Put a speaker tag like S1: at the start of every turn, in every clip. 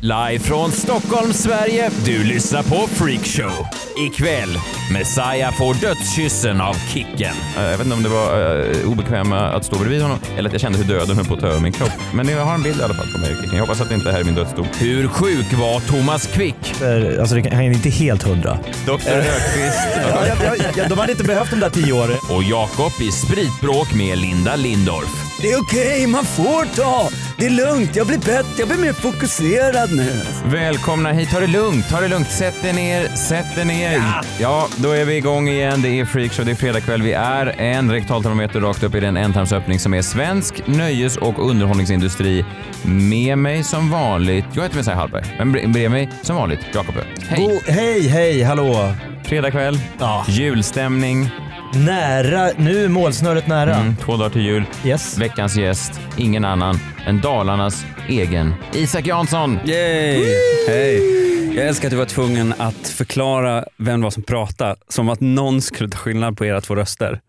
S1: Live från Stockholm, Sverige. Du lyssnar på Freakshow. Ikväll, Messiah får dödskyssen av Kicken.
S2: Eh, Jag vet inte om det var eh, obekvämt att stå bredvid honom eller att jag kände hur döden höll på att ta över min kropp. Men jag har en bild i alla fall på mig Kicken. Jag hoppas att det inte här är min dödsdom.
S1: Hur sjuk var Thomas Quick?
S3: Eh, Alltså det kan, han är inte helt hundra.
S2: Doktor Rödqvist.
S3: Eh. Ja, ja, ja, de hade inte behövt de där tio åren.
S1: Och Jakob i spritbråk med Linda Lindorff.
S3: Det är okej, man får ta. Det är lugnt, jag blir bättre, jag blir mer fokuserad nu.
S2: Välkomna hit. Ta det lugnt, ta det lugnt. Sätt er ner, sätt er ner. Ja. då är vi igång igen. Det är Freakshow, det är fredagkväll. Vi är en rektaltermometer rakt upp i den ändtarmsöppning som är svensk nöjes och underhållningsindustri. Med mig som vanligt, jag heter Messiah Hallberg, men bre- bredvid mig som vanligt Jakob Ö. Oh, Hej!
S3: Hej. hej, hej, hallå.
S2: Fredagkväll,
S3: Ja.
S2: julstämning,
S3: Nära, nu är målsnöret nära.
S2: mm, två dagar till jul.
S3: Yes.
S2: Veckans gäst, ingen annan än Dalarnas egen Isak Jansson.
S4: Yay! Hej! Jag älskar att du var tvungen att förklara vem det var som pratade, som att någon skulle ta skillnad på era två röster.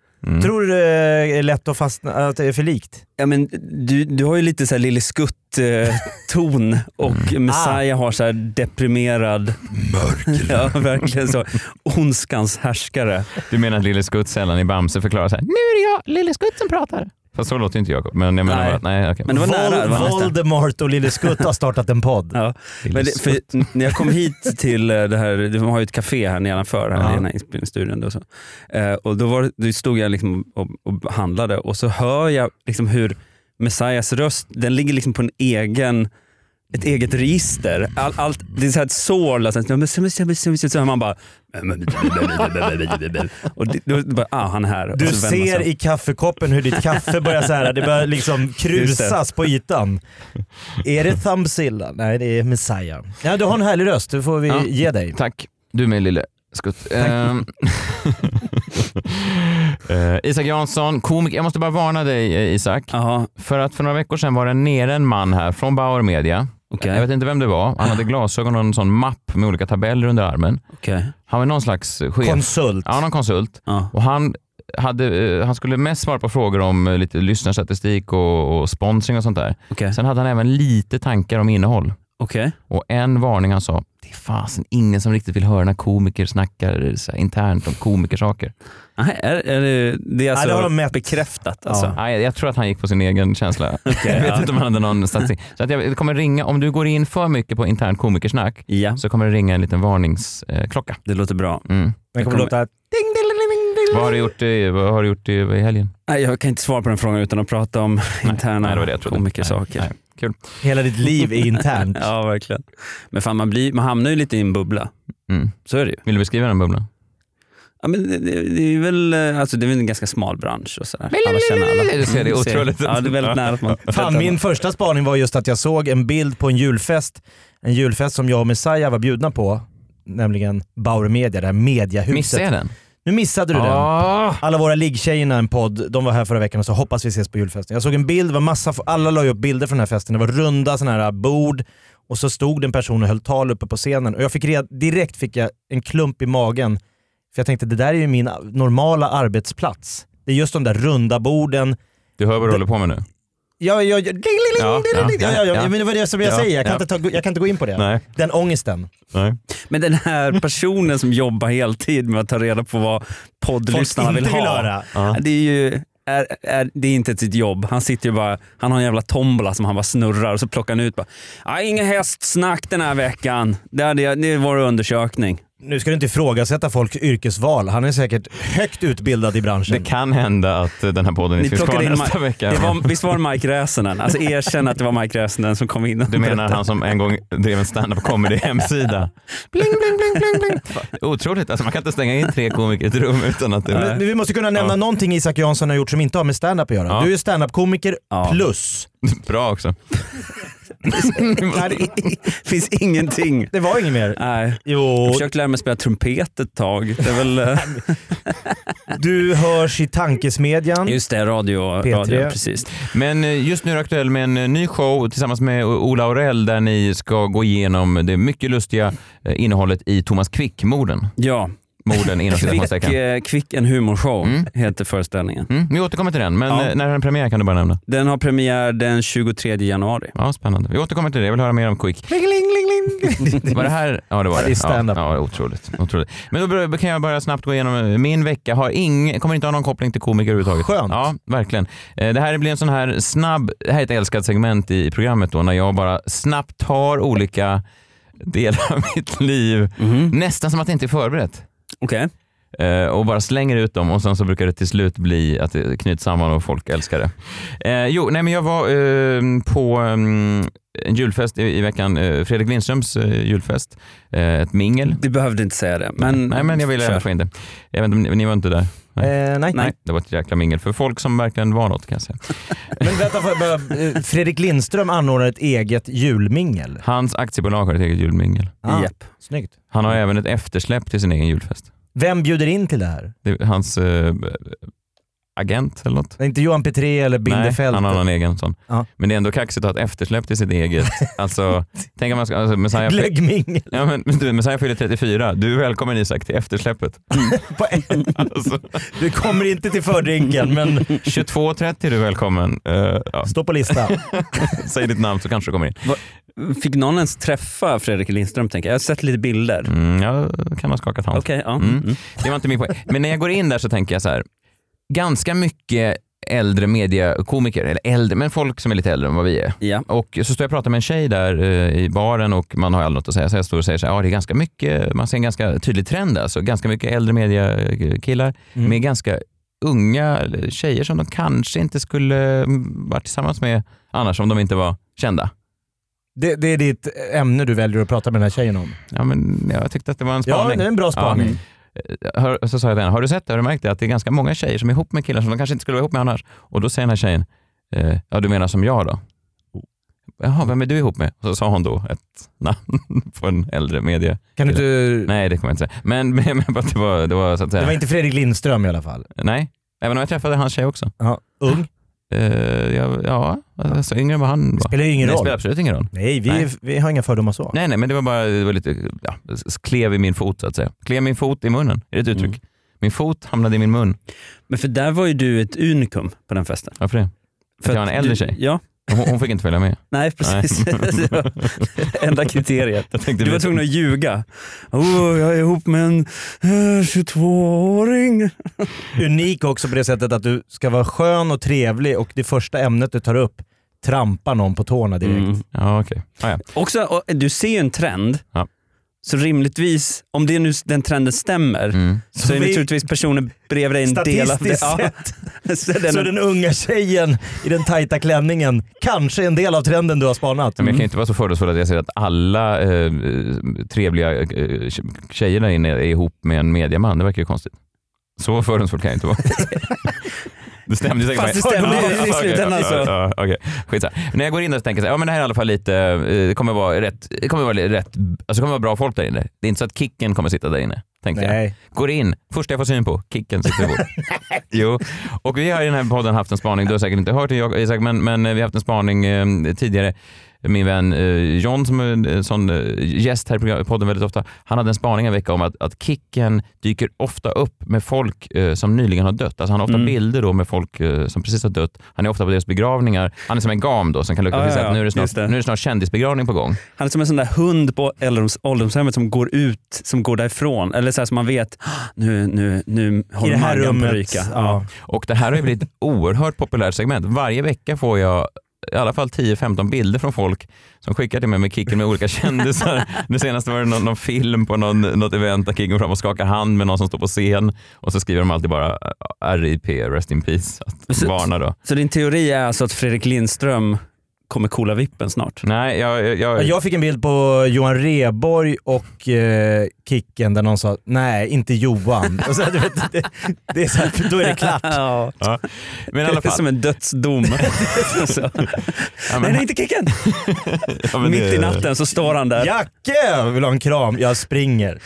S3: Tror du det är lätt att fastna, att det är för likt?
S4: Ja, men du, du har ju lite så här Lille Skutt-ton eh, och Messiah har så här deprimerad... Mörker. Ja, verkligen så. Ondskans härskare.
S2: Du menar att Lille Skutt sällan i Bamse förklarar så här. Nu är det jag, Lille Skutt som pratar. Fast så låter inte Jakob. Men jag menar
S4: Nej.
S2: bara att, nej okej.
S4: Men det var nära. Det var nästan.
S3: Voldemort och Lille Skutt har startat en podd.
S4: Ja. Men det, för när jag kom hit till eh, det här, de har ju ett café här nedanför, här i den här inspelningsstudion. Då, så. Eh, och då, var, då stod jag liksom och, och handlade och så hör jag liksom hur Messias röst, den ligger liksom på en egen ett eget register. All, allt, det är så här ett sår. Liksom. Så hör man bara... Och det, då bara, ah, han är här. Och
S3: Du
S4: så vänder man sig
S3: ser
S4: om.
S3: i kaffekoppen hur ditt kaffe börjar så här, det börjar liksom krusas på ytan. Är det Thumbzilla? Nej, det är Messiah. Ja, du har en härlig röst, det får vi
S2: Ja.
S3: ge dig.
S2: Tack. Du med Lille Skutt. Ehm. Eh, Isak Jansson, komiker. Jag måste bara varna dig eh, Isak.
S4: Jaha,
S2: För att för några veckor sedan var det nere en man här från Bauer Media.
S4: Okej.
S2: Jag vet inte vem det var. Han hade glasögon och en sån mapp med olika tabeller under armen.
S4: okej.
S2: Han var någon slags chef.
S3: Konsult.
S2: Ja, någon konsult.
S4: Ja.
S2: Och han, hade, eh, han skulle mest svara på frågor om eh, lite lyssnarstatistik och, och sponsring och sånt där.
S4: Okej.
S2: Sen hade han även lite tankar om innehåll.
S4: Okej.
S2: Och en varning han sa, det är fasen ingen som riktigt vill höra när komiker snackar så här, internt om komikersaker.
S4: Nej, är, är det, det är
S3: Nej,
S4: alltså
S3: det har de mätt.
S4: bekräftat alltså?
S3: Ja.
S2: Nej, jag tror att han gick på sin egen känsla. jag vet inte om han hade någon statistik. Så att jag det kommer ringa, om du går in för mycket på internt komikersnack
S4: Ja,
S2: så kommer det ringa en liten varningsklocka.
S4: det låter bra.
S2: Mm.
S3: Den kommer låta...
S2: Vad har du gjort i, vad har du gjort i, i helgen?
S4: Nej, jag kan inte svara på den frågan utan att prata om interna
S2: nej, det var det jag trodde.
S4: komikersaker.
S2: Nej, nej. Kul.
S3: Hela ditt liv är internt.
S4: Ja, verkligen. Men fan, man, blir, man hamnar ju lite i en bubbla.
S2: Mm.
S4: Så är det ju.
S2: Vill du beskriva den bubblan?
S4: Ja, men det, det, det är väl eh, alltså, det är väl en ganska smal bransch. Och så där. Alla känner alla.
S2: Du ser, det är otroligt.
S4: Ja, det är väldigt nära att man...
S3: Fan, min första spaning var just att jag såg en bild på en julfest. En julfest som jag och Messiah var bjudna på. Nämligen Bauer Media, det här mediahuset.
S2: Missade jag den?
S3: Nu missade du den.
S2: Ah.
S3: Alla våra liggtjejerna, en podd, de var här förra veckan och sa hoppas vi ses på julfesten. Jag såg en bild, det var massa, alla la ju upp bilder från den här festen. Det var runda sådana här bord och så stod det en person och höll tal uppe på scenen. Och jag fick red, direkt fick jag en klump i magen. För jag tänkte det där är ju min normala arbetsplats. Det är just de där runda borden.
S2: Du hör vad du håller på med nu?
S3: Ja, ja, ja, ding, ding, ding,
S2: Ja,
S3: ding,
S2: ja,
S3: ding. ja,
S2: ja,
S3: ja, ja,
S2: ja.
S3: men det var det som jag
S2: Ja,
S3: säger. Jag kan,
S2: ja.
S3: inte ta, jag kan inte gå in på det.
S2: Nej.
S3: Den ångesten.
S2: Nej.
S4: Men den här personen som jobbar heltid med att ta reda på vad poddlyssnarna
S3: Folk
S4: vill
S3: inte vill
S4: ha.
S3: höra.
S4: Det är ju... Är, är, det är inte sitt jobb. Han sitter ju bara, han har en jävla tombola som han bara snurrar och så plockar han ut bara, "Ah, inga hästsnack den här veckan. Det, hade jag- det är vår undersökning.
S3: Nu ska du inte ifrågasätta folks yrkesval. Han är säkert högt utbildad i branschen.
S2: Det kan hända att eh, den här podden inte finns kvar nästa
S4: Ma-
S2: vecka.
S4: Det var, visst var det Mike Räsänen? Alltså erkänn att det var Mike Räsänen som kom in. och
S2: Du menar
S4: berättade.
S2: han som en gång drev en stand-up comedy hemsida? Bling, bling, bling, bling, bling. Fan, Otroligt, alltså man kan inte stänga in tre komiker i ett rum utan att det...
S3: Men vi måste kunna nämna någonting Isak Jansson har gjort som inte har med stand-up att göra.
S2: Ja.
S3: Du är stand-up komiker
S4: Ja.
S3: plus.
S2: Bra också.
S4: finns ingenting.
S3: Det var inget mer.
S4: Nej. Jag
S3: Jo,
S4: försökte lära mig spela trumpet ett tag. Det är väl, eh,
S3: du hörs i tankesmedjan.
S4: just det, radio.
S3: P3.
S4: radio precis.
S2: Men eh, just nu är du aktuell med en eh, ny show tillsammans med O- Ola Aurell där ni ska gå igenom det mycket lustiga eh, innehållet i Thomas Quick-morden.
S4: Ja,
S2: Morden inom
S4: Kvick,
S2: citationstecken.
S4: eh, Kvick en humorshow
S2: Mm.
S4: heter föreställningen.
S2: Mm, vi återkommer till den, men
S4: Ja.
S2: eh, när är den premiär kan du bara nämna.
S4: Den har premiär den 23 januari.
S2: Ja, spännande. Vi återkommer till det, jag vill höra mer om Quick. Var det här? Ja, det var
S3: Ja,
S2: det.
S3: det är stand-up.
S2: Ja, ja, otroligt, otroligt. Men då bör- kan jag bara snabbt gå igenom. eh, Min vecka har ing, kommer inte ha någon koppling till komiker överhuvudtaget.
S3: Skönt.
S2: Ja, verkligen. Eh, Det här blir en sån här snabb, det här är ett älskat segment i programmet då, när jag bara snabbt tar olika delar av mitt liv,
S3: Mhm.
S2: nästan som att det inte är förberett.
S4: Okej.
S2: Eh, och bara slänger ut dem och sen så brukar det till slut bli att det knyts samman och folk älskar det. Eh, jo, nej men jag var eh, på mm, en julfest i, i veckan, eh, Fredrik Lindströms eh, julfest, eh, ett mingel.
S4: Du Mm. behövde inte säga det. Men,
S2: nej men jag ville ändå
S4: Kör.
S2: få in det. Jag vet, inte om ni, ni var inte där?
S3: Eh, nej.
S2: Nej. det var ett jäkla mingel för folk som verkligen var något kan jag säga.
S3: Men vänta, får jag bara, eh, Fredrik Lindström anordnar ett eget julmingel.
S2: Hans aktiebolag har ett eget julmingel.
S3: Ah,
S4: Japp.
S3: Snyggt.
S2: Han har även ett eftersläpp till sin egen julfest.
S3: Vem bjuder in till det här?
S2: Det är hans eh, agent eller något.
S3: Det är Inte Johan Petré eller
S2: Nej,
S3: Bindefeld?
S2: han har någon egen sån.
S3: Ja.
S2: Men det är ändå kaxigt att ha ett eftersläpp till sitt eget. Alltså, tänk om man ska, alltså, Messiah, fyll-
S3: Glöggmingel
S2: ja, men, du, Messiah fyller 34. Du är välkommen Isak till eftersläppet.
S3: på en.
S2: Alltså,
S3: Du kommer inte till fördrinken men
S2: 22.30 är du välkommen. Eh, ja,
S3: stå på listan.
S2: säg ditt namn så kanske du kommer in.
S4: Fick någon ens träffa Fredrik Lindström? Tänker jag. jag har sett lite bilder.
S2: Mm, jag kan ha skakat hand.
S4: Okej, ja.
S2: Mm.
S4: Mm.
S2: Det var inte min poäng. Men när jag går in där så tänker jag så här. Ganska mycket äldre mediakomiker, eller äldre, men folk som är lite äldre än vad vi är.
S4: Ja.
S2: Och så står jag och pratar med en tjej där eh, i baren och man har aldrig något att säga. Så jag står och säger så här, ja det är ganska mycket, man ser en ganska tydlig trend alltså. Ganska mycket äldre mediakillar
S3: Mm.
S2: med ganska unga tjejer som de kanske inte skulle mm, vara tillsammans med annars om de inte var kända.
S3: Det, det är ditt ämne du väljer att prata med den här tjejen om.
S2: Ja, men jag tyckte att det var en
S3: Ja,
S2: spaning. Eh,
S3: det är en bra spaning.
S2: Hör, så sa jag till henne, har du sett det? Har du märkt det? Att det är ganska många tjejer som är ihop med killar som de kanske inte skulle vara ihop med annars. Och då säger den här tjejen, eh, ja du menar som jag då? Jaha, vem är du ihop med? Och så sa hon då ett namn på en äldre media.
S3: Kan du inte...
S2: Nej, det kommer jag inte säga. Men, men jag menar bara att det var, det var så att säga,
S3: Det var inte Fredrik Lindström i alla fall.
S2: nej. Även om jag träffade hans tjej också.
S3: Ja, ung.
S2: Eh, jag, ja, alltså yngre än vad han var.
S3: Spelar ju ingen
S2: det
S3: roll.
S2: spelar absolut ingen roll.
S3: Nej, vi,
S2: Nej.
S3: vi har inga fördomar så.
S2: Nej, nej, men det var bara det var lite, ja, s- klev i min fot så att säga. Klev min fot i munnen, är det ett uttryck?
S3: Mm.
S2: Min fot hamnade i min mun.
S4: Men för där var ju du ett unikum på den festen.
S2: Varför det? För att jag var
S4: att
S2: en äldre
S4: du-
S2: tjej?
S4: Ja,
S2: Hon, hon fick inte följa med.
S4: nej precis. Det var Enda kriteriet.
S2: Jag tänkte
S4: Du var
S2: bli-
S4: tvungen att ljuga. Oh, jag är ihop med en eh, 22-åring.
S3: Unik också på det sättet att du ska vara skön och trevlig och det första ämnet du tar upp trampar någon på tårna direkt.
S2: Mm.
S4: Mm.
S2: Ja, okej. Ah, ja.
S4: Också, och du ser ju en trend.
S2: Ja.
S4: Så rimligtvis, om det nu den trenden stämmer,
S2: Mm.
S4: så är
S3: vi-
S4: naturligtvis personen bredvid dig en del av det.
S3: Statistiskt
S4: Ja.
S3: sett
S4: Så den,
S3: så den unga tjejen i den tajta klänningen kanske en del av trenden du har spanat.
S2: Men
S4: Mm.
S2: jag kan ju inte vara så fördomsfull att jag säger att alla eh, trevliga eh, tjejer där inne är ihop med en mediaman. Det verkar ju konstigt. Så fördomsfull kan jag inte vara. Det stämde säkert.
S4: Fast det
S2: med-
S4: stämde
S2: Ja,
S4: i
S2: okej,
S4: slutändan
S2: ja,
S4: alltså.
S2: Ja, ja, okej. Skitsamma. När jag går in där så tänker jag så här, ja men det här är i alla fall lite, eh, det kommer vara rätt, det kommer vara rätt, alltså det kommer vara bra folk där inne. Det är inte så att Kicken kommer sitta där inne, tänkte jag.
S3: Nej.
S2: Går in, första jag får syn på, Kicken sitter vid bordet. Jo, och vi har i den här podden haft en spaning, du har säkert inte hört det jag, Isak, men, men vi har haft en spaning eh, tidigare. Min vän eh, John som är en sån eh, gäst här i program- podden väldigt ofta, han hade en spaning en vecka om att, att Kicken dyker ofta upp med folk eh, som nyligen har dött. Alltså han har
S4: Mm.
S2: ofta bilder då med folk eh, som precis har dött. Han är ofta på deras begravningar. Han är som en gam då som kan lukta
S4: Ja,
S2: fisk
S4: ja, ja.
S2: att nu är, det snart,
S4: Just det.
S2: nu är det snart kändisbegravning på gång.
S4: han är som en sån där hund på ålderdoms- ålderdomshemmet som går ut, som går därifrån. Eller så här som man vet, "Ah, nu, nu, nu
S3: I
S4: håller
S3: det här
S4: Maggan på att
S3: rummet.
S4: ryka.
S3: Ja.
S2: Och det här har ju blivit ett oerhört populärt segment. Varje vecka får jag i alla fall 10-15 bilder från folk som skickar till mig med Kicken med olika kändisar. Det senaste var det någon, någon film på någon, något event där Kicken går fram och skakar hand med någon som står på scen och så skriver de alltid bara RIP, Rest in Peace. Att
S4: Så-
S2: varna då.
S4: Så din teori är alltså att Fredrik Lindström kommer coola vippen snart.
S2: Nej, jag... jag,
S3: Ja,
S2: jag,
S3: Jag fick en bild på Johan Reborg och eh, Kicken där någon sa nej, inte Johan. Och så, du vet, det, det är så här, då är det klart.
S4: Ja.
S2: ja. Men i
S4: Det
S2: alla
S4: är
S2: fall.
S4: som en dödsdom. Så.
S2: Ja,
S4: Nej,
S2: men-
S4: det är inte Kicken!
S2: ja, men
S4: Mitt
S2: det-
S4: i natten så står han där.
S3: Jacke vill ha en kram, jag springer.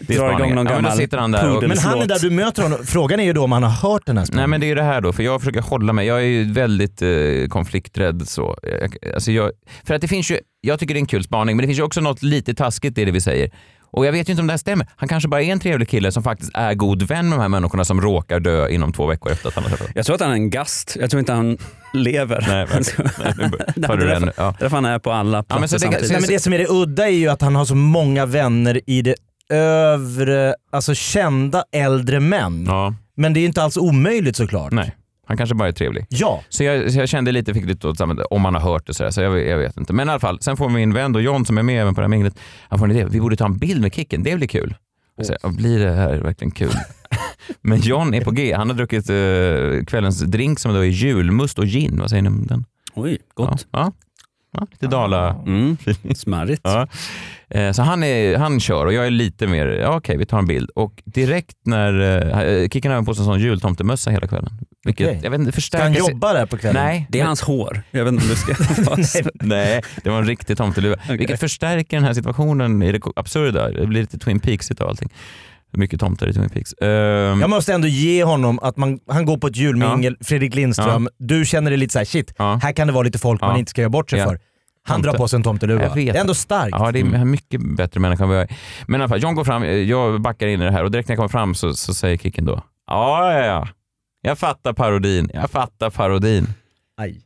S2: det är
S4: drar igång
S2: spaningen.
S4: någon
S2: Ja, men då
S4: gammal
S2: sitter han där och,
S4: pudel.
S3: Men han är där du möter honom. Frågan är ju då om han har hört den här
S2: Nej
S3: spelningen.
S2: men det är ju det här då, för jag försöker hålla mig. Jag är ju väldigt eh, konflikträdd så. Jag, alltså jag, för att det finns ju, jag tycker det är en kul spaning, men det finns ju också något lite taskigt i det vi säger. Och jag vet ju inte om det här stämmer. Han kanske bara är en trevlig kille som faktiskt är god vän med de här människorna som råkar dö inom två veckor efter att han har träffat dem.
S4: Jag tror att han är en gast. Jag tror inte han lever.
S2: Nej, verkligen.
S4: Alltså,
S2: Nej, nu tar du
S4: det är
S2: den. Ja.
S4: Det är därför han är på alla platser
S2: men så det-
S4: samtidigt.
S2: så-
S3: Nej, men det som är det udda är ju att han har så många vänner i det övre, alltså kända äldre män.
S2: ja.
S3: Men det är ju inte alls omöjligt såklart.
S2: Nej, han kanske bara är trevlig.
S3: Ja.
S2: Så jag, så jag kände lite, fick lite åt samma- om man har hört det sådär, så jag, jag vet inte. Men i alla fall, sen får min vän då, John som är med även på det här minglet, han får en idé, vi borde ta en bild med Kicken, det blir kul. Jag säger, "Ja, blir det här verkligen kul? Men John är på G, han har druckit eh, kvällens drink som då är julmust och gin, vad säger ni om den?
S4: Oj, gott.
S2: Ja, ja. ja lite Dala.
S4: Mm. Smarrigt.
S2: Ja. Eh, Så han, är, han kör och jag är lite mer, ja, okej vi tar en bild. Och direkt när, eh, Kicken har även på sig en sån jultomtemössa hela kvällen. Vilket,
S3: Okej.
S2: jag vet inte,
S3: Ska
S2: förstärker
S3: han
S2: sig-
S3: jobba där på kvällen?
S2: Nej,
S4: Det är hans hår. Jag vet inte om du ska...
S2: Nej, det var en riktig tomteluva. Vilket förstärker den här situationen i det absurda. Det blir lite Twin Peaks av allting. Mycket tomtar i Twin Peaks. Ehm,
S3: Jag måste ändå ge honom att man, han går på ett julmingel, Fredrik Lindström, du känner dig lite såhär shit,
S2: Ja.
S3: här kan det vara lite folk man
S2: Ja.
S3: inte ska göra bort sig
S2: Ja.
S3: för. Han
S2: Tomte.
S3: drar på sig en tomteluva.
S2: Jag vet.
S3: Det är ändå starkt.
S2: Ja, det är en mycket bättre människa än vad jag är. Men i alla fall, John går fram, eh, jag backar in i det här och direkt när jag kommer fram så, så säger Kicken då. Ja, ja, ja. Jag fattar parodin. Jag fattar parodin.
S3: Aj.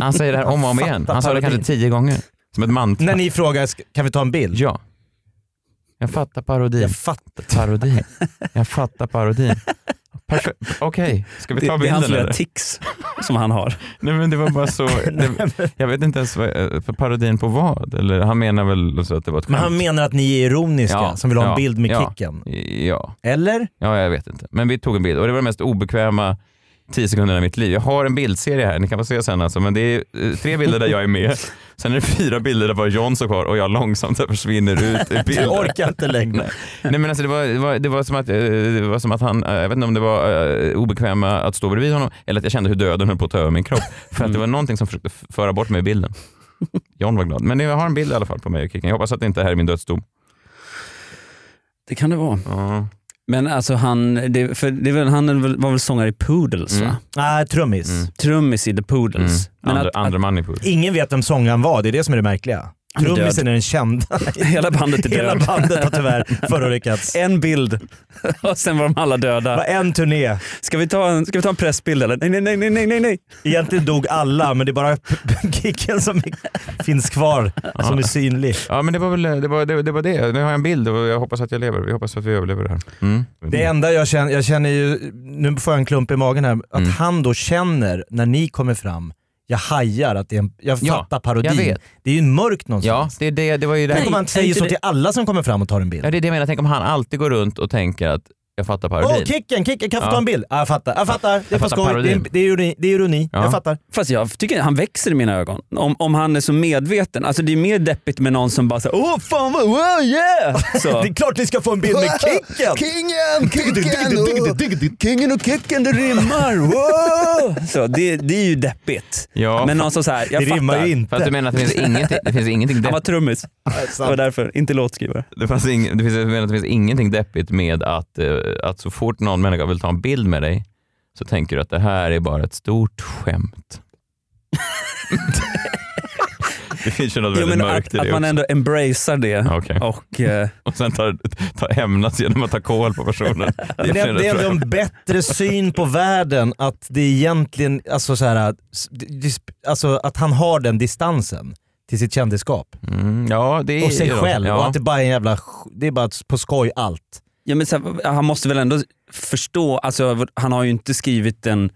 S2: Han säger det här om och om
S3: Jag
S2: igen.
S3: fattar
S2: Han sa det
S3: parodin.
S2: kanske tio gånger. Som ett mantra.
S3: När ni frågar, "Ska- kan vi ta en bild?
S2: Ja. Jag fattar parodin.
S3: Jag fattar.
S2: Parodin. Jag fattar parodin. Perfe- Okej, ska vi
S4: Det,
S2: ta
S4: det är hans
S2: bilden
S4: lilla
S2: eller?
S4: tics som han har.
S2: Nej men det var bara så. Det, jag vet inte ens vad, eh, för parodin på vad. Eller, han menar väl så att det var ett
S3: Men han
S2: skämt.
S3: menar att ni är ironiska
S2: Mm. Ja,
S3: som vill ha en
S2: ja,
S3: bild med
S2: ja.
S3: Kicken.
S2: Ja.
S3: Eller?
S2: ja, jag vet inte. Men vi tog en bild och det var de mest obekväma tio sekunderna i mitt liv. Jag har en bildserie här, ni kan få se sen alltså. Men det är eh, tre bilder där jag är med. Sen är det fyra bilder där bara John står kvar och jag långsamt försvinner ut ur bilden.
S3: Jag orkar inte längre.
S2: Nej. Nej men alltså det var, det var, det var, som, att, eh, det var som att han, eh, jag vet inte om det var eh, obekväma att stå bredvid honom eller att jag kände hur döden höll på att ta över min kropp. För att det var någonting som försökte f- föra bort mig i bilden. John var glad. Men jag har en bild i alla fall på mig och Kicken. Jag hoppas att det inte här är min dödsdom. Mm.
S4: Det kan det vara.
S2: Ja.
S4: Men alltså han, det, för det är väl, han är väl- var väl sångare i Poodles va?
S3: Nej, trummis.
S4: Trummis i The Poodles. Men
S2: Mm. Andra,
S4: att,
S2: andra man i poolen.
S3: Ingen vet vem sångaren var, det är det som är det märkliga.
S4: är död.
S3: Trummisen är den kända.
S4: att hela bandet är
S3: Hela
S4: död.
S3: bandet har tyvärr förolyckats.
S4: En bild och sen var de alla
S3: Det var
S4: döda.
S3: en turné.
S4: Ska vi ta en, ska vi ta en pressbild eller? Nej, nej, nej, nej, nej, nej, nej.
S3: Egentligen dog alla, men det är bara Kicken som är- finns kvar, som är synlig.
S2: Ja men det var väl det. Var, det, det, var det. Nu har jag en bild och jag hoppas att jag lever. Vi hoppas att vi överlever det här. Mm.
S3: Det enda jag känner, jag känner ju, nu får jag en klump i magen här, att han då känner när ni kommer fram, jag hajar att det är en, jag
S2: Ja,
S3: fattar parodin.
S2: jag vet.
S3: det är ju mörkt
S2: Ja,
S3: någonstans.
S2: det, det, det var ju det.
S3: Tänk om han
S4: Nej,
S3: säger
S4: inte
S3: så
S4: det.
S3: till alla som kommer fram och tar en bild.
S2: Ja, det är det jag menar. Tänk om han alltid går runt och tänker att jag fattar
S3: Åh,
S2: parodin.
S3: Kicken, Kicken, kan jag få
S2: Ja.
S3: ta en bild? Ja, jag fattar, jag fattar. Det är
S2: Jag
S3: för
S2: fattar
S3: skoj, det är,
S2: parodin.
S3: det är ironi, det är ironi.
S2: Ja.
S3: jag fattar.
S4: Fast jag tycker han växer i mina ögon. Om, om han är så medveten. Alltså det är mer deppigt med någon som bara såhär åh fan vad wow yeah! Så.
S3: Det är klart ni ska få en bild med Kicken!
S5: Kingen, Kicken! Kingen och Kicken, det
S4: rimmar, wow! Så det, det är ju deppigt.
S2: Ja,
S4: Men
S2: fa-
S4: någon som såhär, jag
S3: Det rimmar
S4: fattar.
S3: ju
S2: Fast du
S3: inte.
S2: menar att det finns ingenting, det finns ingenting
S4: Han var
S2: depp-
S4: trummis. Det var därför, inte låtskrivare.
S2: Det, fanns ing, det, finns, jag menar att det finns ingenting deppigt med att, eh, att så fort någon människa vill ta en bild med dig så tänker du att det här är bara ett stort skämt. det finns ju något
S4: Jo,
S2: väldigt
S4: men
S2: mörkt
S4: att,
S2: i det
S4: att man
S2: också.
S4: ändå embracear det.
S2: Ja, okej.
S4: Och, eh,
S2: Och sen tar, tar hämnas genom att ta kål på personen. Det är
S3: Det är, det är ändå
S2: rätt-
S3: en bättre syn på världen att det egentligen, alltså, så här, s- dis- alltså att han har den distansen till sitt kändisskap
S2: Mm, ja, det är
S3: och sig
S2: ja,
S3: själv
S2: Ja.
S3: och att det bara är en jävla, sk- det är bara på skoj allt.
S4: ja, men så här, han måste väl ändå förstå, alltså, han har ju inte skrivit en...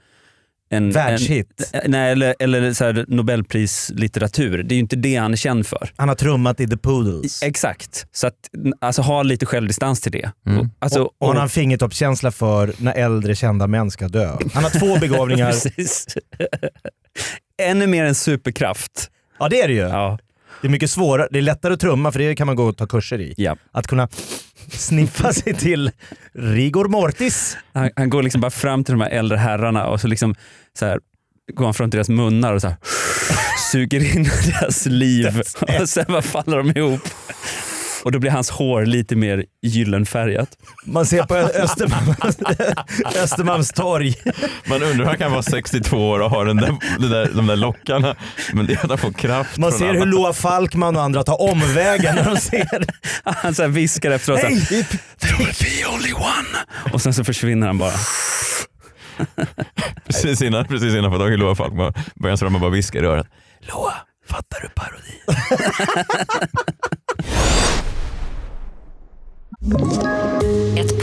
S4: en
S3: Världshit.
S4: En, Eh, nej, eller, eller så här, Nobelprislitteratur. Det är ju inte det han är känd för.
S3: Han har trummat i The Poodles.
S4: Exakt. Så att, alltså, ha lite självdistans till det. Och, alltså,
S3: Mm. och, och han har en fingertoppskänsla för när äldre kända män ska dö. Han har två begåvningar.
S4: Precis. ännu mer en superkraft.
S3: Ja det är det ju.
S4: Ja.
S3: Det är mycket svårare. Det är lättare att trumma för det kan man gå och ta kurser i.
S4: Ja.
S3: Att kunna sniffa sig till rigor mortis.
S4: Han, han går liksom bara fram till de här äldre herrarna och så liksom så här, går han fram till deras munnar och så här, suger in deras liv. Och sen bara faller de ihop. Och då blir hans hår lite mer gyllenfärgat.
S3: Man ser på Östermalm, Östermalmstorg.
S2: Man undrar hur han kan vara 62 år och ha den där, den där, de där lockarna. Men det är att han får kraft
S3: Man
S2: från
S3: ser hur
S2: alla.
S3: Loa Falkman och andra tar omvägen när de ser.
S4: Han så här viskar efteråt så här,
S3: Hej!
S4: There will be only one. Och sen så försvinner han bara.
S2: Precis innan, precis innan på dagen Loa Falkman börjar så de bara viskar i örat. Loa, fattar du parodin?
S6: Ett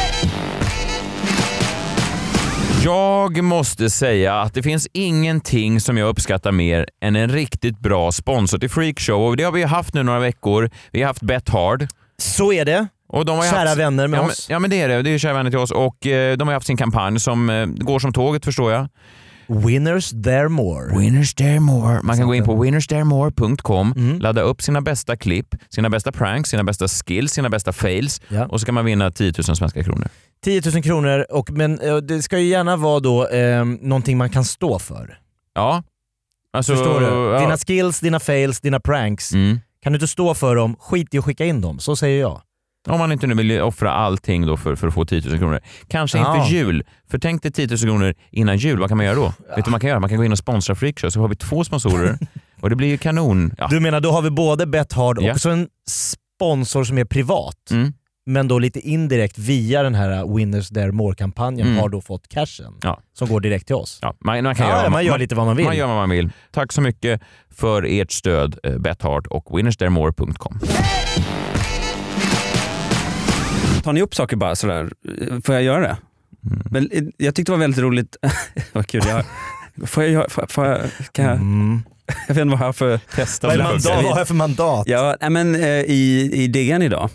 S2: Jag måste säga att det finns ingenting som jag uppskattar mer än en riktigt bra sponsor till Freakshow och det har vi haft nu några veckor. Vi har haft Bet Hard.
S3: Så är det.
S2: Och de har ju
S3: Kära
S2: haft,
S3: vänner med
S2: ja,
S3: oss.
S2: Men, ja men det är det, det är ju kära vänner till oss och eh, de har ju haft sin kampanj som eh, går som tåget förstår jag.
S3: Winners there more.
S2: Winners Dare More. Man kan gå in på winnersdaremore.com,
S3: Mm.
S2: ladda upp sina bästa klipp, sina bästa pranks, sina bästa skills, sina bästa fails
S3: Ja.
S2: och så kan man vinna 10 000 svenska kronor.
S3: 10 000 kronor, och, men eh, det ska ju gärna vara då eh, någonting man kan stå för.
S2: Ja. Alltså,
S3: Förstår du?
S2: Ja.
S3: Dina skills, dina fails, dina pranks.
S2: Mm.
S3: Kan du inte stå för dem, skit i att skicka in dem. Så säger jag.
S2: Om man inte nu vill offra allting då för, för att få 10 000 kronor. Kanske
S3: Ja.
S2: inför jul. För tänk dig 10 000 kronor innan jul, vad kan man göra då? Vet du vad man kan göra? Man kan gå in och sponsra Freakshow så har vi två sponsorer och det blir ju kanon. Ja.
S3: Du menar, då har vi både Bet Hard och
S2: Ja.
S3: så en sponsor som är privat,
S2: Mm.
S3: men då lite indirekt via den här Winners There More-kampanjen
S2: Mm.
S3: har då fått cashen
S2: Ja.
S3: som går direkt till oss.
S2: Ja, man, man kan
S3: Ja,
S2: göra,
S3: ja, man gör lite vad man vill.
S2: Man gör vad man vill. Tack så mycket för ert stöd, eh, Bethard och winnersdaremore.com.
S4: Tar ni upp saker bara sådär? Får jag göra det? Men eh, jag tyckte det var väldigt roligt. Vad kul. Jag, får jag, göra- får, får jag, kan jag,
S3: Mm.
S4: jag vet inte vad jag har för...
S2: Testa
S3: Vad, är mandat, vad har jag för mandat?
S4: Ja, nej, men eh, i, i DN idag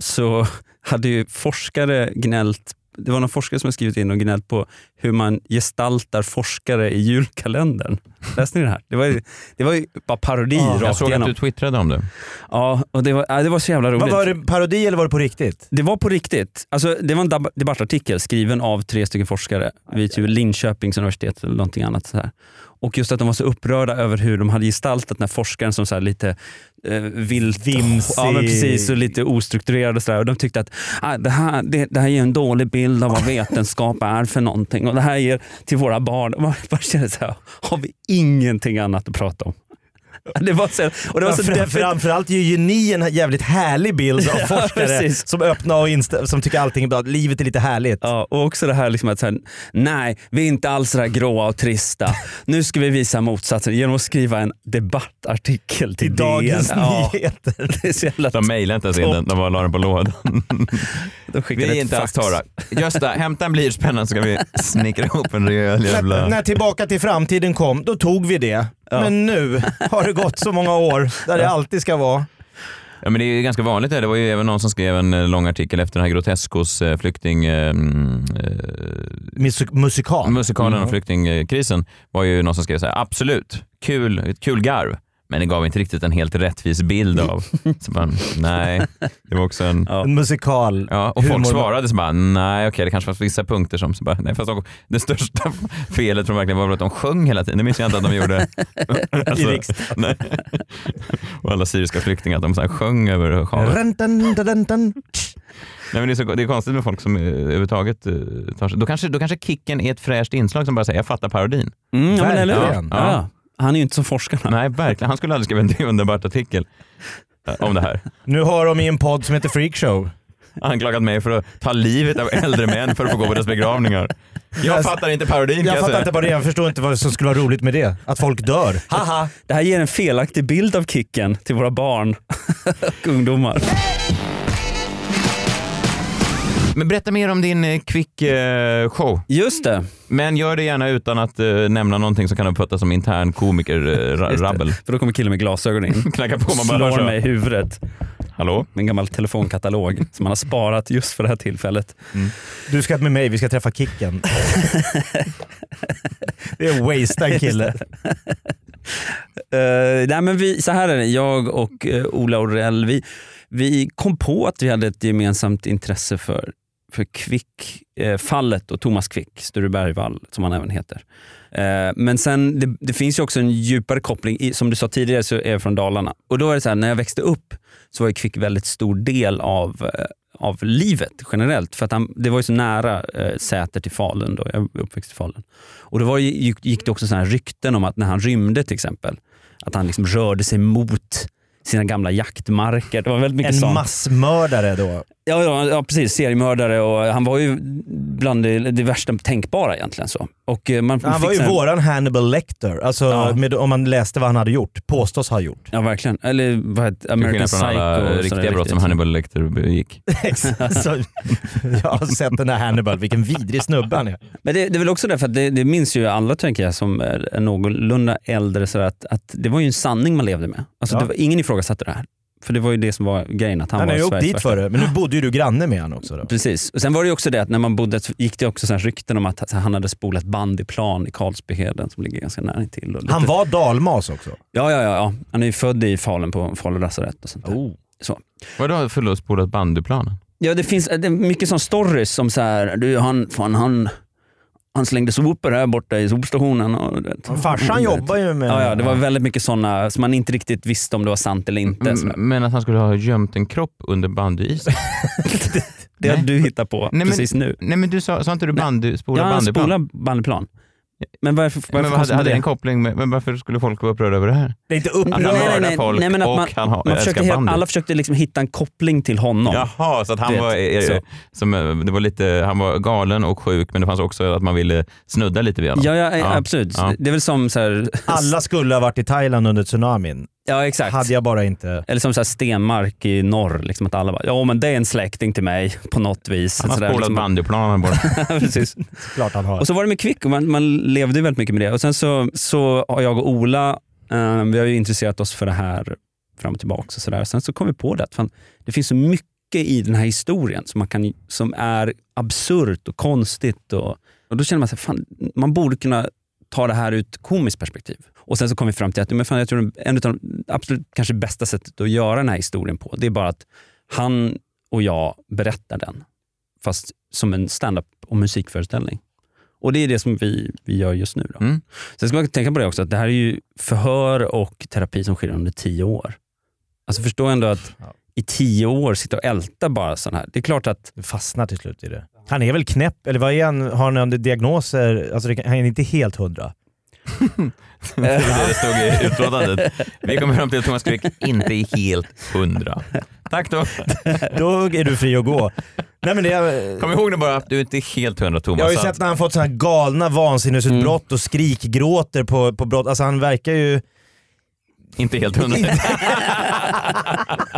S4: så hade ju forskare gnällt, det var någon forskare som hade skrivit in och gnällt på hur man gestaltar forskare i julkalendern. Läste ni det här? Det var ju, det var ju bara parodi
S2: Jag
S4: rakt
S2: såg att
S4: igenom.
S2: du twittrade om det.
S4: Ja, och det var, ja, det var så jävla roligt.
S3: Vad var det parodi eller var det på riktigt?
S4: Det var på riktigt. Alltså, det var en dab- debattartikel skriven av tre stycken forskare vid typ Linköpings universitet eller någonting annat. Så här. Och just att de var så upprörda över hur de hade gestaltat den här forskaren som så här lite eh, vilt,
S3: Vimsig.
S4: ja, men precis, och lite ostrukturerad. Och, så där. och de tyckte att ah, det, här, det, det här ger en dålig bild av vad vetenskap är för någonting. Och det här ger till våra barn. Och Man bara känner så här, har vi ingenting annat att prata om? Det var så, och det var så
S3: Fram- Framförallt är ju ni en jävligt härlig bild av
S4: Ja,
S3: forskare
S4: precis.
S3: som öppna och insta- som tycker allting är bra. Livet är lite härligt.
S4: Ja, och också det här liksom att så här, nej, vi är inte alls så där gråa och trista. Nu ska vi visa motsatsen genom att skriva en debattartikel till
S3: I Dagens
S4: DN. Ja,
S3: Nyheter.
S4: det är så jävla...
S2: De mejlade inte ens in den, de bara la den på lådan.
S4: De skickade
S2: Vi är
S4: ett
S2: inte alls
S4: fax.
S2: torra. Gösta, hämta en blyertspenna så ska vi snickra ihop en rejäl
S3: När,
S2: jävla...
S3: när Tillbaka till framtiden kom, då tog vi det. Men nu har det gått så många år där det alltid ska vara.
S2: Ja, men det är ju ganska vanligt det. Det var ju även någon som skrev en eh, lång artikel efter den här Grotescos eh, flykting... Eh, mm,
S3: Musik- musikal.
S2: eh, musikalen om flyktingkrisen var ju någon som skrev så här, absolut, kul, ett kul garv. Men det gav inte riktigt en helt rättvis bild av. Så man, nej, det var också en...
S3: En musikal.
S2: Ja, och folk
S3: humor.
S2: svarade så bara, nej okej, det kanske fanns vissa punkter som, så bara, nej fast de, det största felet från verkligen var väl att de sjöng hela tiden. Det minns jag inte att de gjorde. Alltså, nej. Och alla syriska flyktingar, att de så här sjöng över havet.
S3: Run, dun, dun, dun, dun.
S2: Nej, men det, är så, det är konstigt med folk som eh, överhuvudtaget eh, tar sig... Då kanske, då kanske kicken är ett fräscht inslag som bara säger jag fattar parodin.
S4: Mm, ja, men, eller hur?
S3: Verkligen.
S4: Ja. Han är ju inte som forskarna.
S2: Nej, verkligen. Han skulle aldrig skriva en underbart artikel eh, om det här.
S3: Nu har de i en podd som heter Freakshow.
S2: anklagat mig för att ta livet av äldre män för att få gå på deras begravningar. Jag fattar inte parodin kan
S3: Alltså, Jag fattar
S2: säga.
S3: inte vad det är. Jag förstår inte vad som skulle vara roligt med det. Att folk dör.
S2: Haha!
S4: Det här ger en felaktig bild av Kicken till våra barn och ungdomar.
S2: Men berätta mer om din eh, quick eh, show.
S4: Just det.
S2: Men gör det gärna utan att eh, nämna någonting som kan uppfattas som intern eh,
S4: Just det.
S2: komiker-rabbel.
S4: För då kommer killen med glasögon in.
S2: Knacka på man bara hör
S4: Slår
S2: så.
S4: mig i huvudet
S2: Hallå?
S4: med en gammal telefonkatalog som han har sparat just för det här tillfället.
S3: Du ska med mig, vi ska träffa Kicken. det är en wasted kille.
S4: Eh, nej men vi, så här är det, jag och eh, Ola Orell, vi, vi kom på att vi hade ett gemensamt intresse för, för Quick, eh, fallet och Thomas Quick, Sture Bergvall som han även heter. Eh, men sen, det, det finns ju också en djupare koppling, i, som du sa tidigare så är jag från Dalarna. Och då är det så här, när jag växte upp så var ju Quick väldigt stor del av eh, av livet generellt. För att han, det var ju så nära eh, Säter till Falun, då. jag är uppväxt i Falun. Och då var, ju- gick, gick det också såna här rykten om att när han rymde till exempel, att han liksom rörde sig mot sina gamla jaktmarker. Det var väldigt mycket
S3: En
S4: sånt.
S3: massmördare då.
S4: Ja, ja, ja precis. Seriemördare och han var ju bland det, det värsta tänkbara egentligen. så. Och eh, man
S3: Han
S4: fick
S3: var ju
S4: så här-
S3: våran Hannibal Lecter. Alltså,
S4: Ja.
S3: med, om man läste vad han hade gjort. Påstås ha gjort.
S4: Ja, verkligen. Eller vad heter
S2: Till
S4: American
S2: skillnad från
S4: Psycho. och
S2: alla eh,
S4: sådär
S2: riktiga brott som Hannibal Lecter begick.
S3: Så, alltså, jag har sett den där Hannibal, vilken vidrig snubbe han är.
S4: Men det, det är väl också därför att det, det minns ju alla tänker jag som är någorlunda äldre sådär, att, att det var ju en sanning man levde med. Alltså,
S3: Ja.
S4: det var, ingen ifrågasatte det här. För det var ju det som var grejen, att han,
S3: Han
S4: var
S3: har ju åkt
S4: Sveriges
S3: dit
S4: värsta.
S3: för det, men nu bodde ju du granne med han också. Då.
S4: Precis. Och sen var det ju också det att när man bodde så gick det också sådana här rykten om att han hade spolat bandyplan i Karlsbyheden som ligger ganska nära intill. Och lite-
S3: Han var dalmas också.
S4: Ja, ja, ja, ja. Han är ju född i Falun på Falu lasarett och sånt där.
S2: Oh.
S4: Så.
S2: Vadå förlustspolat bandyplanen?
S4: Ja, det finns det är mycket sån stories som så här, du han, fan han, han slängde sopor här borta i sopstationen. Och, du vet.
S3: Farsan
S4: Du vet.
S3: jobbar ju med...
S4: Mm. Ja, ja, det var väldigt mycket sådana som man inte riktigt visste om det var sant eller inte.
S2: M-
S4: sådär.
S2: Men att han skulle ha gömt en kropp under bandyisen?
S4: det har du hittat på
S2: Nej, men-
S4: precis nu.
S2: Nej men du sa, sa inte du bandy, spola
S4: Ja, han
S2: bandyplan?
S4: spolar bandyplan. Men varför, varför
S2: Men vad
S4: konstigt
S2: hade,
S4: med
S2: hade det
S4: det?
S2: en koppling med, men varför skulle folk vara upprörda över det här?
S3: Det är inte
S2: Att han
S3: upprörande.
S2: mördar folk
S4: men att
S2: och
S4: man,
S2: han har-
S4: man
S2: älskar
S4: försökte, helt-
S2: bandy.
S4: Alla försökte liksom hitta en koppling till honom.
S2: Jaha, så att han
S4: Vet,
S2: var, eh,
S4: så.
S2: Som, eh, det var lite, han var galen och sjuk men det fanns också att man ville snudda lite vid honom.
S4: Ja, ja,
S2: Ja,
S4: absolut.
S2: ja.
S4: Det är väl som så här,
S3: Alla skulle ha varit i Thailand under tsunamin.
S4: ja, exakt.
S3: Hade jag bara inte...
S4: Eller som så här Stenmark i norr, liksom att alla bara, ja men det är en släkting till mig på något vis.
S2: Han har
S4: Så där,
S2: spolat
S3: liksom-
S2: bandyplanen bara.
S4: Precis.
S3: Klart han har.
S4: Och så var det med Kvick, och man, man levde ju väldigt mycket med det. Och Sen så, så har jag och Ola, eh, vi har ju intresserat oss för det här fram och tillbaka. Och så där. Sen så kom vi på det att fan, det finns så mycket i den här historien som, man kan, som är absurt och konstigt. Och, och Då känner man sig fan, man borde kunna ta det här ur ett komiskt perspektiv. Och Sen så kom vi fram till att men fan, jag tror en av de absolut kanske bästa sättet att göra den här historien på, det är bara att han och jag berättar den, fast som en stand-up och musikföreställning. Och det är det som vi, vi gör just nu. Då.
S2: Mm.
S4: Sen ska man tänka på det också, att det här är ju förhör och terapi som sker under tio år. Alltså förstå ändå att
S3: Ja.
S4: i tio år sitta och älta bara sån här. Det är klart att,
S3: Du fastnar till slut i det. Han är väl knäpp, eller vad är han? Har han några diagnoser? Alltså det kan, han är inte helt hundra.
S2: Det var det det stod i utlåtandet. Vi kommer fram till att Thomas Quick inte är helt hundra. Tack då.
S3: Då är du fri att gå. Nej, men det är,
S2: Kom ihåg det bara, att du inte är helt hundra Thomas.
S3: jag har ju
S2: Så
S3: sett när han fått såna här galna vansinnesutbrott
S4: Mm.
S3: och skrikgråter på, på brott. Alltså han verkar ju...
S2: att- Inte helt hundra.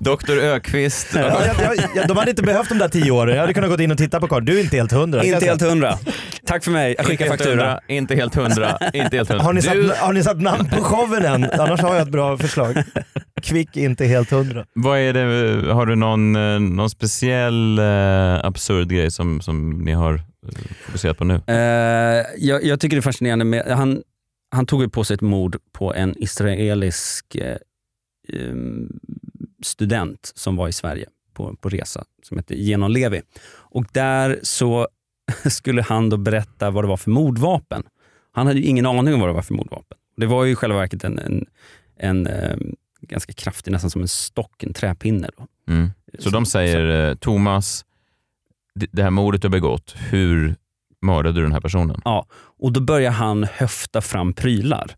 S2: Doktor Ökvist.
S3: Ja, jag, jag, jag, de hade inte behövt de där tio åren. Jag hade kunnat gå in och titta på karln. Du är inte helt hundra.
S4: inte helt hundra. Tack för mig, jag
S2: alltså. Inte
S4: skickar
S2: helt
S4: faktura.
S2: hundra, inte helt hundra, inte helt hundra.
S3: har, ni satt,
S2: Du,
S3: har ni satt namn på showen än? Annars har jag ett bra förslag. Kvick inte helt hundra.
S2: vad är det, har du någon, eh, någon speciell eh, absurd grej som, som ni har eh, fokuserat på nu?
S4: Eh, jag, jag tycker det är fascinerande med, han, han tog ju på sig ett mord på en israelisk eh, em, student som var i Sverige på, på resa, som hette Genon Levi. Och där så skulle han då berätta vad det var för mordvapen. Han hade ju ingen aning om vad det var för mordvapen. Det var ju i själva verket en, en, en em, ganska kraftig, nästan som en stock, en träpinne. Då.
S2: Mm. Så de säger, eh, Thomas, det- det här mordet du har begått, hur mördade du den här personen?
S4: Ja, och då börjar han höfta fram prylar.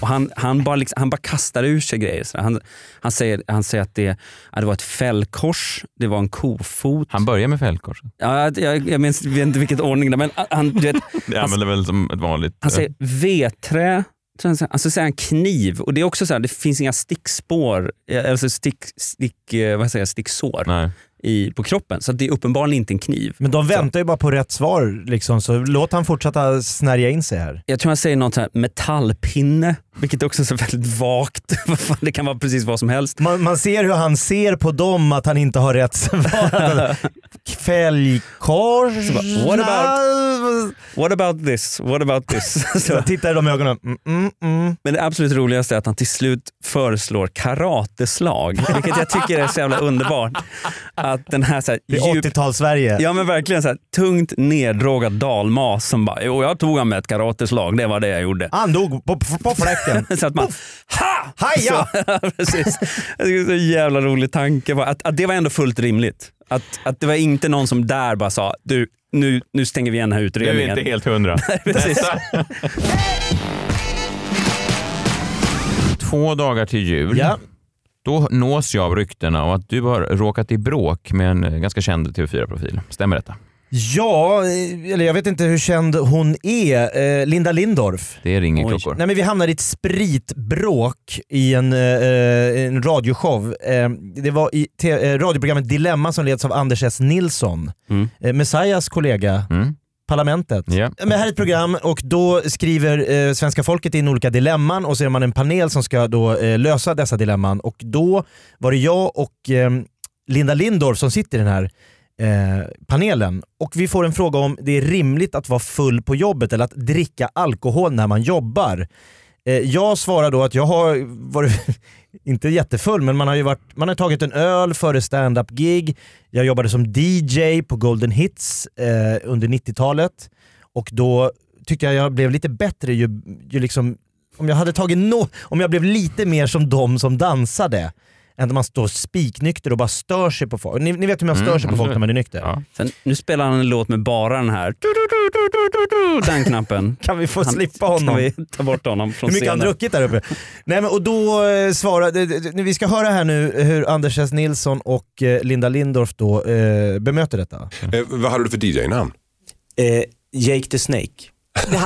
S4: Och han, han, bara liksom, han bara kastar ur sig grejer. sådär. Han, han, säger, han säger att det, ja, det var ett fällkors, det var en kofot.
S2: Han börjar med fällkorset.
S4: Ja, jag jag minns, vet inte vilket ordning, det är, men han, du vet,
S2: Jag använder väl som ett vanligt...
S4: han säger vedträ, tror jag han säger. alltså säger han kniv. Och det är också så här, det finns inga stickspår, eh, alltså stick, stick, eh, vad säger jag, sticksår
S2: Nej.
S4: i, på kroppen. Så att det är uppenbarligen inte en kniv.
S3: Men de väntar ju bara på rätt svar liksom, så låt han fortsätta snärja in sig här.
S4: Jag tror han säger något så här metallpinne, vilket också är så väldigt vagt. Vad fan, det kan vara precis vad som helst.
S3: Man, man ser hur han ser på dem att han inte har rätt svar. Fälgkors...
S4: What about, what about this? What about this?
S3: Så
S4: Så,
S3: tittar i de ögonen. Mm, mm, mm.
S4: men det absolut roligaste är att han till slut föreslår karateslag, vilket jag tycker är så jävla underbart. Att den här, så här
S3: Det är
S4: djup-
S3: 80-tals-Sverige.
S4: Ja men verkligen så här, tungt neddrogad dalmas som bara, jo jag tog han med ett karateslag, det var det jag gjorde.
S3: Han dog på, på, på fläkten.
S4: Så att man, ha!
S3: Haja!
S4: Så, precis. Jag tycker det är en så jävla rolig tanke. bara Att, att det var ändå fullt rimligt. Att, att det var inte någon som där bara sa, du nu, nu stänger vi igen den här
S2: Du är
S4: utredningen.
S2: inte helt hundra.
S4: precis.
S2: Två dagar till jul.
S3: Ja.
S2: Då nås jag av ryktena och att du har råkat i bråk med en eh, ganska känd TV4-profil. Stämmer detta?
S3: Ja, eh, eller jag vet inte hur känd hon är. Eh, Linda Lindorff.
S2: Det ringer
S4: Oj.
S2: klockor.
S3: Nej, men vi hamnade i ett spritbråk i en, eh, eh, en radioshow. Eh, det var i te- eh, radioprogrammet Dilemma som leds av Anders S. Nilsson.
S4: Mm.
S3: Eh, Messias kollega,
S2: Mm.
S3: Parlamentet.
S2: Ja.
S3: Men här är ett program och då skriver eh, svenska folket in olika dilemman och så är man en panel som ska då eh, lösa dessa dilemman. Och då var det jag och eh, Linda Lindorff som sitter i den här eh, panelen. Och vi får en fråga om det är rimligt att vara full på jobbet eller att dricka alkohol när man jobbar. Eh, jag svarar då att jag har varit, inte jättefull, men man har ju varit, man har tagit en öl före stand-up-gig. Jag jobbade som DJ på Golden Hits eh, under 90-talet. Och då tyckte jag jag blev lite bättre ju, ju liksom, om jag hade tagit no, om jag blev lite mer som de som dansade. Än att man står spiknykter och bara stör sig på folk. Ni, ni vet hur man stör sig
S4: Mm,
S3: på folk när man är nykter.
S2: Ja.
S4: Sen, nu spelar han en låt med bara den här, Du, du, du, du, du, du, den knappen.
S3: Kan vi få
S4: Han-
S3: slippa honom?
S4: Kan vi ta bort honom från
S3: Hur mycket har
S4: scenen?
S3: han druckit där uppe? Nej, men, och då eh, svarade, d- d- vi ska höra här nu hur Anders S. Nilsson och eh, Linda Lindorff då eh, bemöter detta.
S7: Eh, vad hade du för DJ-namn?
S8: Eh, Jake the Snake.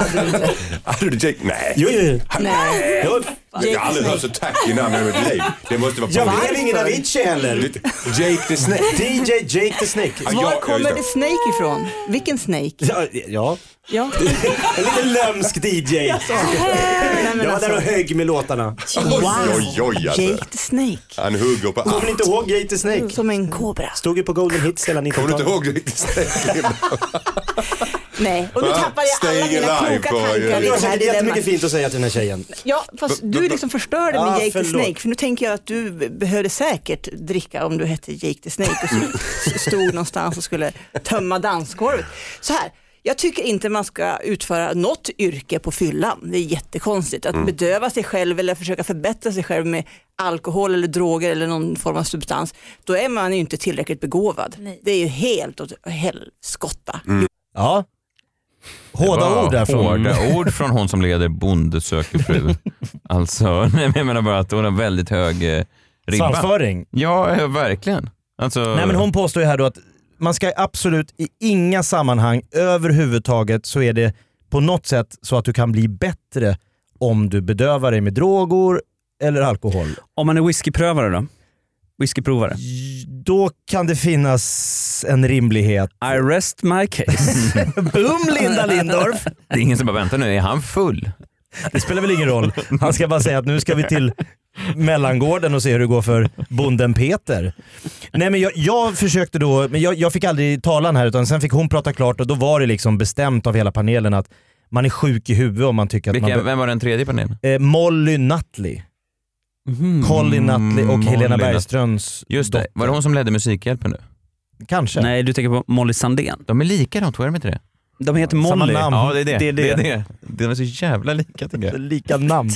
S7: Hade du Jake? Nej.
S8: Jo, jo, jo.
S7: Nej.
S8: Jo,
S7: Jag har aldrig hört så tacky namn i mitt liv. Det måste vara
S8: Jag
S7: på-
S8: blev ingen Avicii heller.
S7: Jake the Snake.
S8: DJ Jake the Snake.
S7: Ja, ja, just det.
S9: Snake ifrån? Vilken Snake?
S8: Ja, ja.
S9: Ja.
S8: en lite lömsk DJ. Jag
S9: alltså.
S8: var där och högg med låtarna.
S7: Oj, oj, oj. Alltså.
S9: the Snake.
S7: Han hugger på
S8: Kommer ni
S7: allt.
S8: inte ihåg Jake the Snake?
S9: Som en kobra.
S8: Stod ju på Golden Hits hela
S7: Kommer du
S8: 90-talet.
S7: inte ihåg Jake the Snake?
S9: Nej, och nu
S7: Va?
S9: tappade jag alla
S7: Staying
S9: mina
S7: alive
S9: kloka
S7: på-
S9: tankar i
S7: ja, ja.
S8: Du har
S9: det här
S8: säkert jättemycket
S9: dilemmat.
S8: fint att säga till den här tjejen.
S9: Ja, fast du liksom förstörde
S8: Ah,
S9: med Jake the
S8: förlåt.
S9: Snake, för nu tänker jag att du behövde säkert dricka om du hette Jake the Snake och så stod någonstans och skulle tömma dansgolvet. Så här, jag tycker inte man ska utföra något yrke på fyllan. Det är jättekonstigt. Att bedöva sig själv eller försöka förbättra sig själv med alkohol eller droger eller någon form av substans, då är man ju inte tillräckligt begåvad. Det är ju helt åt helskotta.
S3: Ja.
S2: Det
S3: Hårda
S2: var
S3: ord där från...
S2: Hårda ord från hon som leder Bonde söker fru. alltså, nej, men jag menar bara att hon har väldigt hög eh, ribba.
S3: Svansföring.
S2: Ja, eh, verkligen. Alltså,
S3: Nej men hon påstår ju här då att man ska absolut i inga sammanhang överhuvudtaget så är det på något sätt så att du kan bli bättre om du bedövar dig med droger eller alkohol.
S4: Om man är whiskyprövare då? Whiskyprovare?
S3: Då kan det finnas en rimlighet.
S4: I rest my case.
S3: Boom Linda Lindorff!
S2: Det är ingen som bara väntar nu, är han full?
S3: Det spelar väl ingen roll. Han ska bara säga att nu ska vi till mellangården och se hur det går för bonden Peter. Nej men jag, jag försökte då, men jag, jag fick aldrig talan här utan sen fick hon prata klart och då var det liksom bestämt av hela panelen att man är sjuk i huvudet om man tycker att
S2: Vilka,
S3: man... be-
S2: vem var den tredje i panelen?
S3: Eh, Molly Nutley, Colin Nutley och
S2: Mm, Molly
S3: Helena
S2: Nutley.
S3: Bergströms
S2: Just det,
S3: dotter.
S2: var det hon som ledde Musikhjälpen nu?
S3: Kanske.
S4: Nej, du tänker på Molly Sandén.
S2: De är lika de två, är de inte det?
S4: De heter Molly.
S3: Samma namn.
S2: Ja, det är det.
S4: Det är det.
S2: Mm, De är så jävla lika tycker jag.
S3: Lika namn.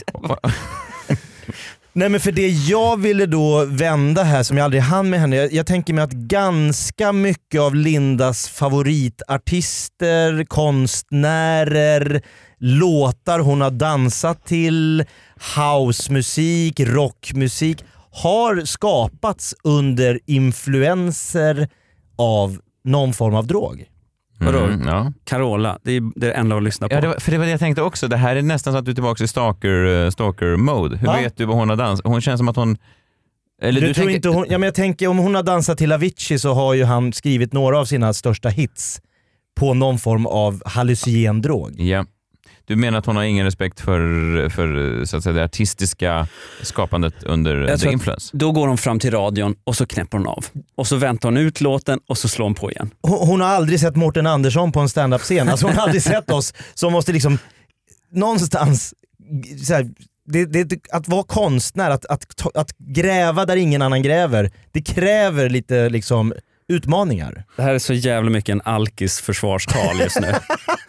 S3: Nej men för det jag ville då vända här som jag aldrig hann med henne. Jag, jag tänker mig att ganska mycket av Lindas favoritartister, konstnärer, låtar hon har dansat till, housemusik, rockmusik har skapats under influenser av någon form av drog.
S4: Vadå?
S3: Mm.
S2: ja.
S4: Carola, det är det enda hon lyssnar på.
S2: Ja, det var, för det var det jag tänkte också. Det här är nästan så att du är tillbaka i stalker, eh, stalker mode. Hur
S3: Va?
S2: vet du vad hon har dansat? Hon känns som att hon... Eller
S3: du
S2: du,
S3: tror
S2: tänker,
S3: inte hon, ja, men jag tänker om hon har dansat till Avicii så har ju han skrivit några av sina största hits på någon form av hallucinogen drog.
S2: Ja. Du menar att hon har ingen respekt för, för så att säga, det artistiska skapandet under
S4: Jag
S2: the
S4: tror att
S2: influence?
S4: Då går hon fram till radion och så knäpper hon av. Och så väntar hon ut låten och så slår hon på igen.
S3: Hon, hon har aldrig sett Mårten Andersson på en standup-scen. Alltså hon har aldrig sett oss som måste liksom någonstans, så här, det, det, att vara konstnär, att, att, ta- att gräva där ingen annan gräver, det kräver lite liksom utmaningar.
S4: Det här är så jävla mycket en alkis försvarstal just nu.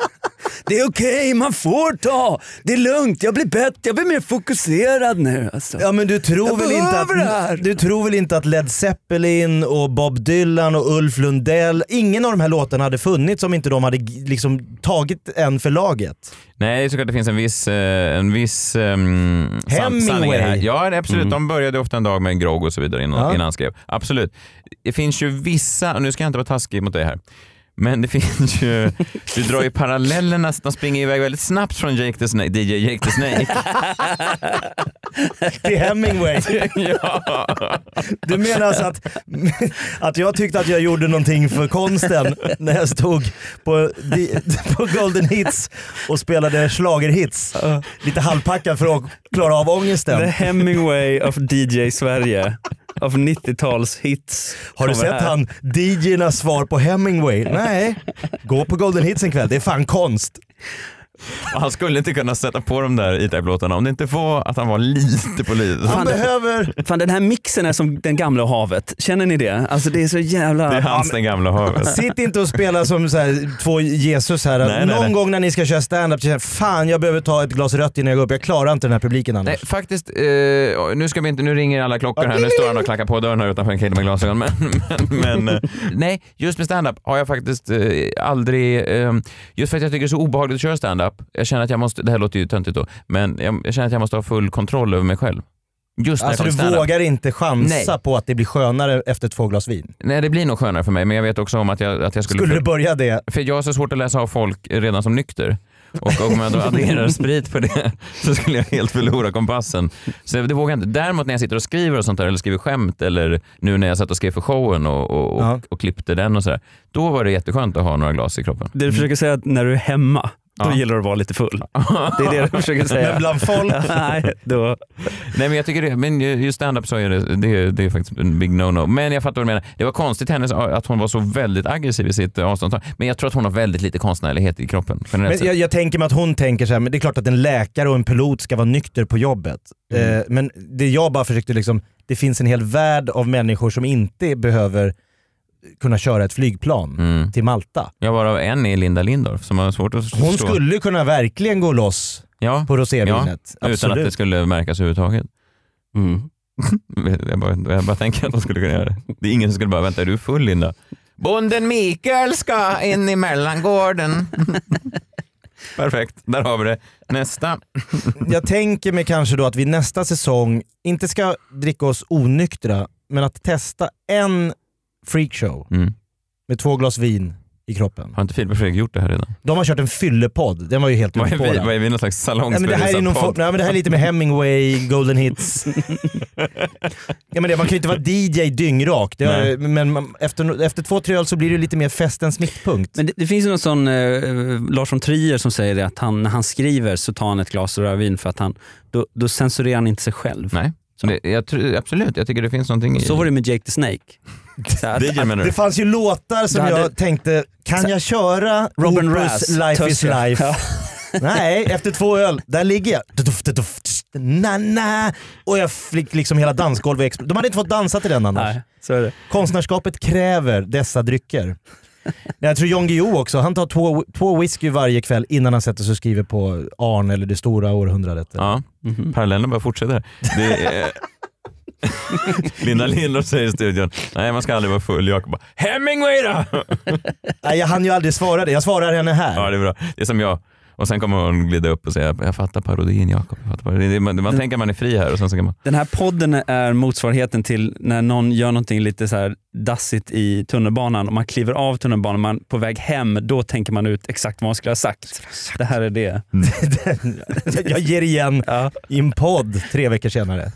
S4: det är okej, man får ta. Det är lugnt, jag blir bättre, jag blir mer fokuserad nu. Alltså.
S3: Ja men du tror,
S4: Jag
S3: väl inte
S4: behöver det här.
S3: att, du tror väl inte att Led Zeppelin och Bob Dylan och Ulf Lundell, ingen av de här låtarna hade funnits om inte de hade g- liksom tagit en för laget.
S2: Nej, det är såklart det finns en viss, eh, en viss um,
S3: Hemingway.
S2: här. Ja, det är absolut.
S3: Mm.
S2: De började ofta en dag med en grogg och så vidare innan,
S3: Ja.
S2: innan han skrev. Absolut. Det finns ju vissa, och nu ska jag inte vara taskig mot dig här, men det finns ju, du drar ju parallellerna, de springer iväg väldigt snabbt från Jake the Snake, DJ Jake the Snake.
S3: Till Hemingway.
S2: ja.
S3: Du menar alltså att, att jag tyckte att jag gjorde någonting för konsten när jag stod på, di- på Golden Hits och spelade schlagerhits Lite halvpackad för att klara av ångesten.
S4: The Hemingway of DJ Sverige. Av 90-talshits.
S3: Har du
S4: kommer
S3: sett
S4: här.
S3: han DJ'nas svar på Hemingway? Nej. Gå på Golden Hits en kväll, det är fan konst.
S2: Och han skulle inte kunna sätta på de där E-Type-låtarna om det inte var att han var lite på livet.
S4: Fan,
S3: behöver...
S4: Fan, den här mixen är som den gamla och havet. Känner ni det? Alltså det är så jävla...
S2: Det är hans den gamla havet.
S3: Sitt inte och spela som så här, två Jesus här.
S2: Nej, nej,
S3: Någon
S2: nej.
S3: gång när ni ska köra standup, så känner jag, fan jag behöver ta ett glas rött innan jag går upp. Jag klarar inte den här publiken annars.
S2: Nej, faktiskt, eh, nu, ska vi inte, nu ringer alla klockor här, nu står han och klackar på dörren här utanför en kille med glasögon. Men, men, men eh, nej, just med stand-up har jag faktiskt eh, aldrig, eh, just för att jag tycker det är så obehagligt att köra stand-up. jag känner att jag måste, det här låter ju töntigt då, men jag, jag känner att jag måste ha full kontroll över mig själv. Just när
S3: Alltså
S2: jag kommer
S3: du
S2: till stand-up.
S3: vågar inte chansa
S2: Nej.
S3: på att det blir skönare efter två glas vin?
S2: Nej, det blir nog skönare för mig, men jag vet också om att jag, att jag skulle...
S3: Skulle du börja det?
S2: För jag har så svårt att läsa av folk redan som nykter. Och om jag då adderar sprit på det så skulle jag helt förlora kompassen. Så det vågar jag inte. Däremot när jag sitter och skriver och sånt där, eller skriver skämt eller nu när jag satt och skrev för showen och, och, och,
S4: Ja.
S2: och klippte den och sådär. Då var det jätteskönt att ha några glas i kroppen.
S4: Det du försöker säga är att när du är hemma, då
S2: Ja.
S4: gillar du att vara lite full. Det är det du försöker säga.
S2: Men bland folk?
S4: Nej, då...
S2: Nej men jag tycker det, men ju stand-up så är det, det, är- det är faktiskt en big no-no. Men jag fattar vad du menar. Det var konstigt hennes, att hon var så väldigt aggressiv i sitt avståndstagande. Men jag tror att hon har väldigt lite konstnärlighet i kroppen. generellt
S3: Men
S2: sett.
S3: jag, jag tänker mig att hon tänker så här, men det är klart att en läkare och en pilot ska vara nykter på jobbet.
S2: Mm.
S3: Eh, men det jag bara försökte liksom, det finns en hel värld av människor som inte behöver kunna köra ett flygplan
S2: Mm.
S3: till Malta.
S2: Jag bara en är Linda Lindorff som har svårt att
S3: Hon
S2: förstå.
S3: skulle kunna verkligen gå loss
S2: ja.
S3: på rosévinet.
S2: Ja, utan att det
S3: Absolut.
S2: skulle märkas överhuvudtaget. Mm. jag, bara, jag bara tänker att de skulle kunna göra det. Det är ingen som skulle bara, vänta är du full Linda? Bonden Mikael ska in i mellangården. Perfekt, där har vi det. Nästa.
S3: Jag tänker mig kanske då att vi nästa säsong inte ska dricka oss onyktra, men att testa en freakshow
S2: Mm.
S3: med två glas vin i kroppen.
S2: Har inte Filip och Fredrik gjort det här redan?
S3: De har kört en fyllepodd, den var ju helt
S2: Vad är
S3: ute på
S2: vi?
S3: den.
S2: Vad är vi? Någon slags
S3: Nej, men det, här är någon form,
S2: salongsberusarpodd?
S3: nej, men det här är lite med Hemingway, Golden Hits. ja, men det, man kan ju inte vara DJ dyngrak, det
S4: Nej.
S3: har, men man, efter, efter två, tre öl så blir det ju lite mer festens mittpunkt.
S4: Men det, det finns ju någon sån eh, Lars von Trier som säger det att han, när han skriver så tar han ett glas rödvin för att han, då, då censurerar han inte sig själv.
S2: Nej.
S4: Så,
S2: det, jag tror, absolut, jag tycker det finns någonting i...
S4: så var det med Jake the Snake. Så att-
S2: Det menar
S3: Det fanns ju låtar som
S4: Du hade-
S3: jag tänkte, kan jag köra
S4: Robin
S3: Opus
S4: Razz,
S3: Life is
S4: Tusker.
S3: life?
S4: Ja.
S3: Nej, efter två öl, där ligger jag. Duduff, duduff, tss, na, na. Och jag fick liksom hela dansgolvet expl- De hade inte fått dansa till den annars.
S4: Nej, så är det.
S3: Konstnärskapet kräver dessa drycker. Nej, Jag tror Jan Guillou också, han tar två, två whisky varje kväll innan han sätter sig och skriver på Arn eller Det stora århundradet.
S2: Ja, parallellen bara fortsätter. Det är... Linda Lindorff säger i studion, nej man ska aldrig vara full. Jakob bara, Hemingway då!
S3: Nej, jag hann ju aldrig svara det. Jag svarar henne här.
S2: Ja, det är bra. Det är som jag. Och sen kommer hon glida upp och säga, jag fattar parodin Jakob. jag fattar parodin." Det- Man, man tänker man är fri här och sen så kan man...
S4: Den här podden är motsvarigheten till när någon gör någonting lite så här dassigt i tunnelbanan och man kliver av tunnelbanan man på väg hem, då tänker man ut exakt vad man skulle ha sagt. Det här är det.
S3: Jag- Jag ger igen i en podd tre veckor senare.